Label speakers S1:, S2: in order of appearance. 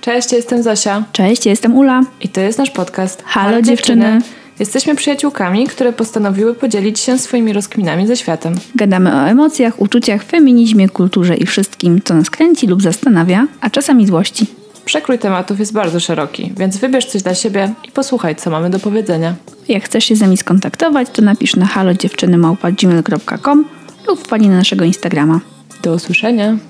S1: Cześć, jestem Zosia
S2: Cześć, jestem Ula.
S1: i to jest nasz podcast.
S2: Halo, dziewczyny.
S1: Jesteśmy przyjaciółkami, które postanowiły podzielić się swoimi rozkminami ze światem.
S2: Gadamy o emocjach, uczuciach, feminizmie, kulturze i wszystkim, co nas kręci lub zastanawia, a czasami złości.
S1: Przekrój tematów jest bardzo szeroki, więc wybierz coś dla siebie i posłuchaj, co mamy do powiedzenia.
S2: Jak chcesz się z nami skontaktować, to napisz na halodziewczynymałpa.gmail.com lub wpadnij na naszego Instagrama.
S1: Do usłyszenia!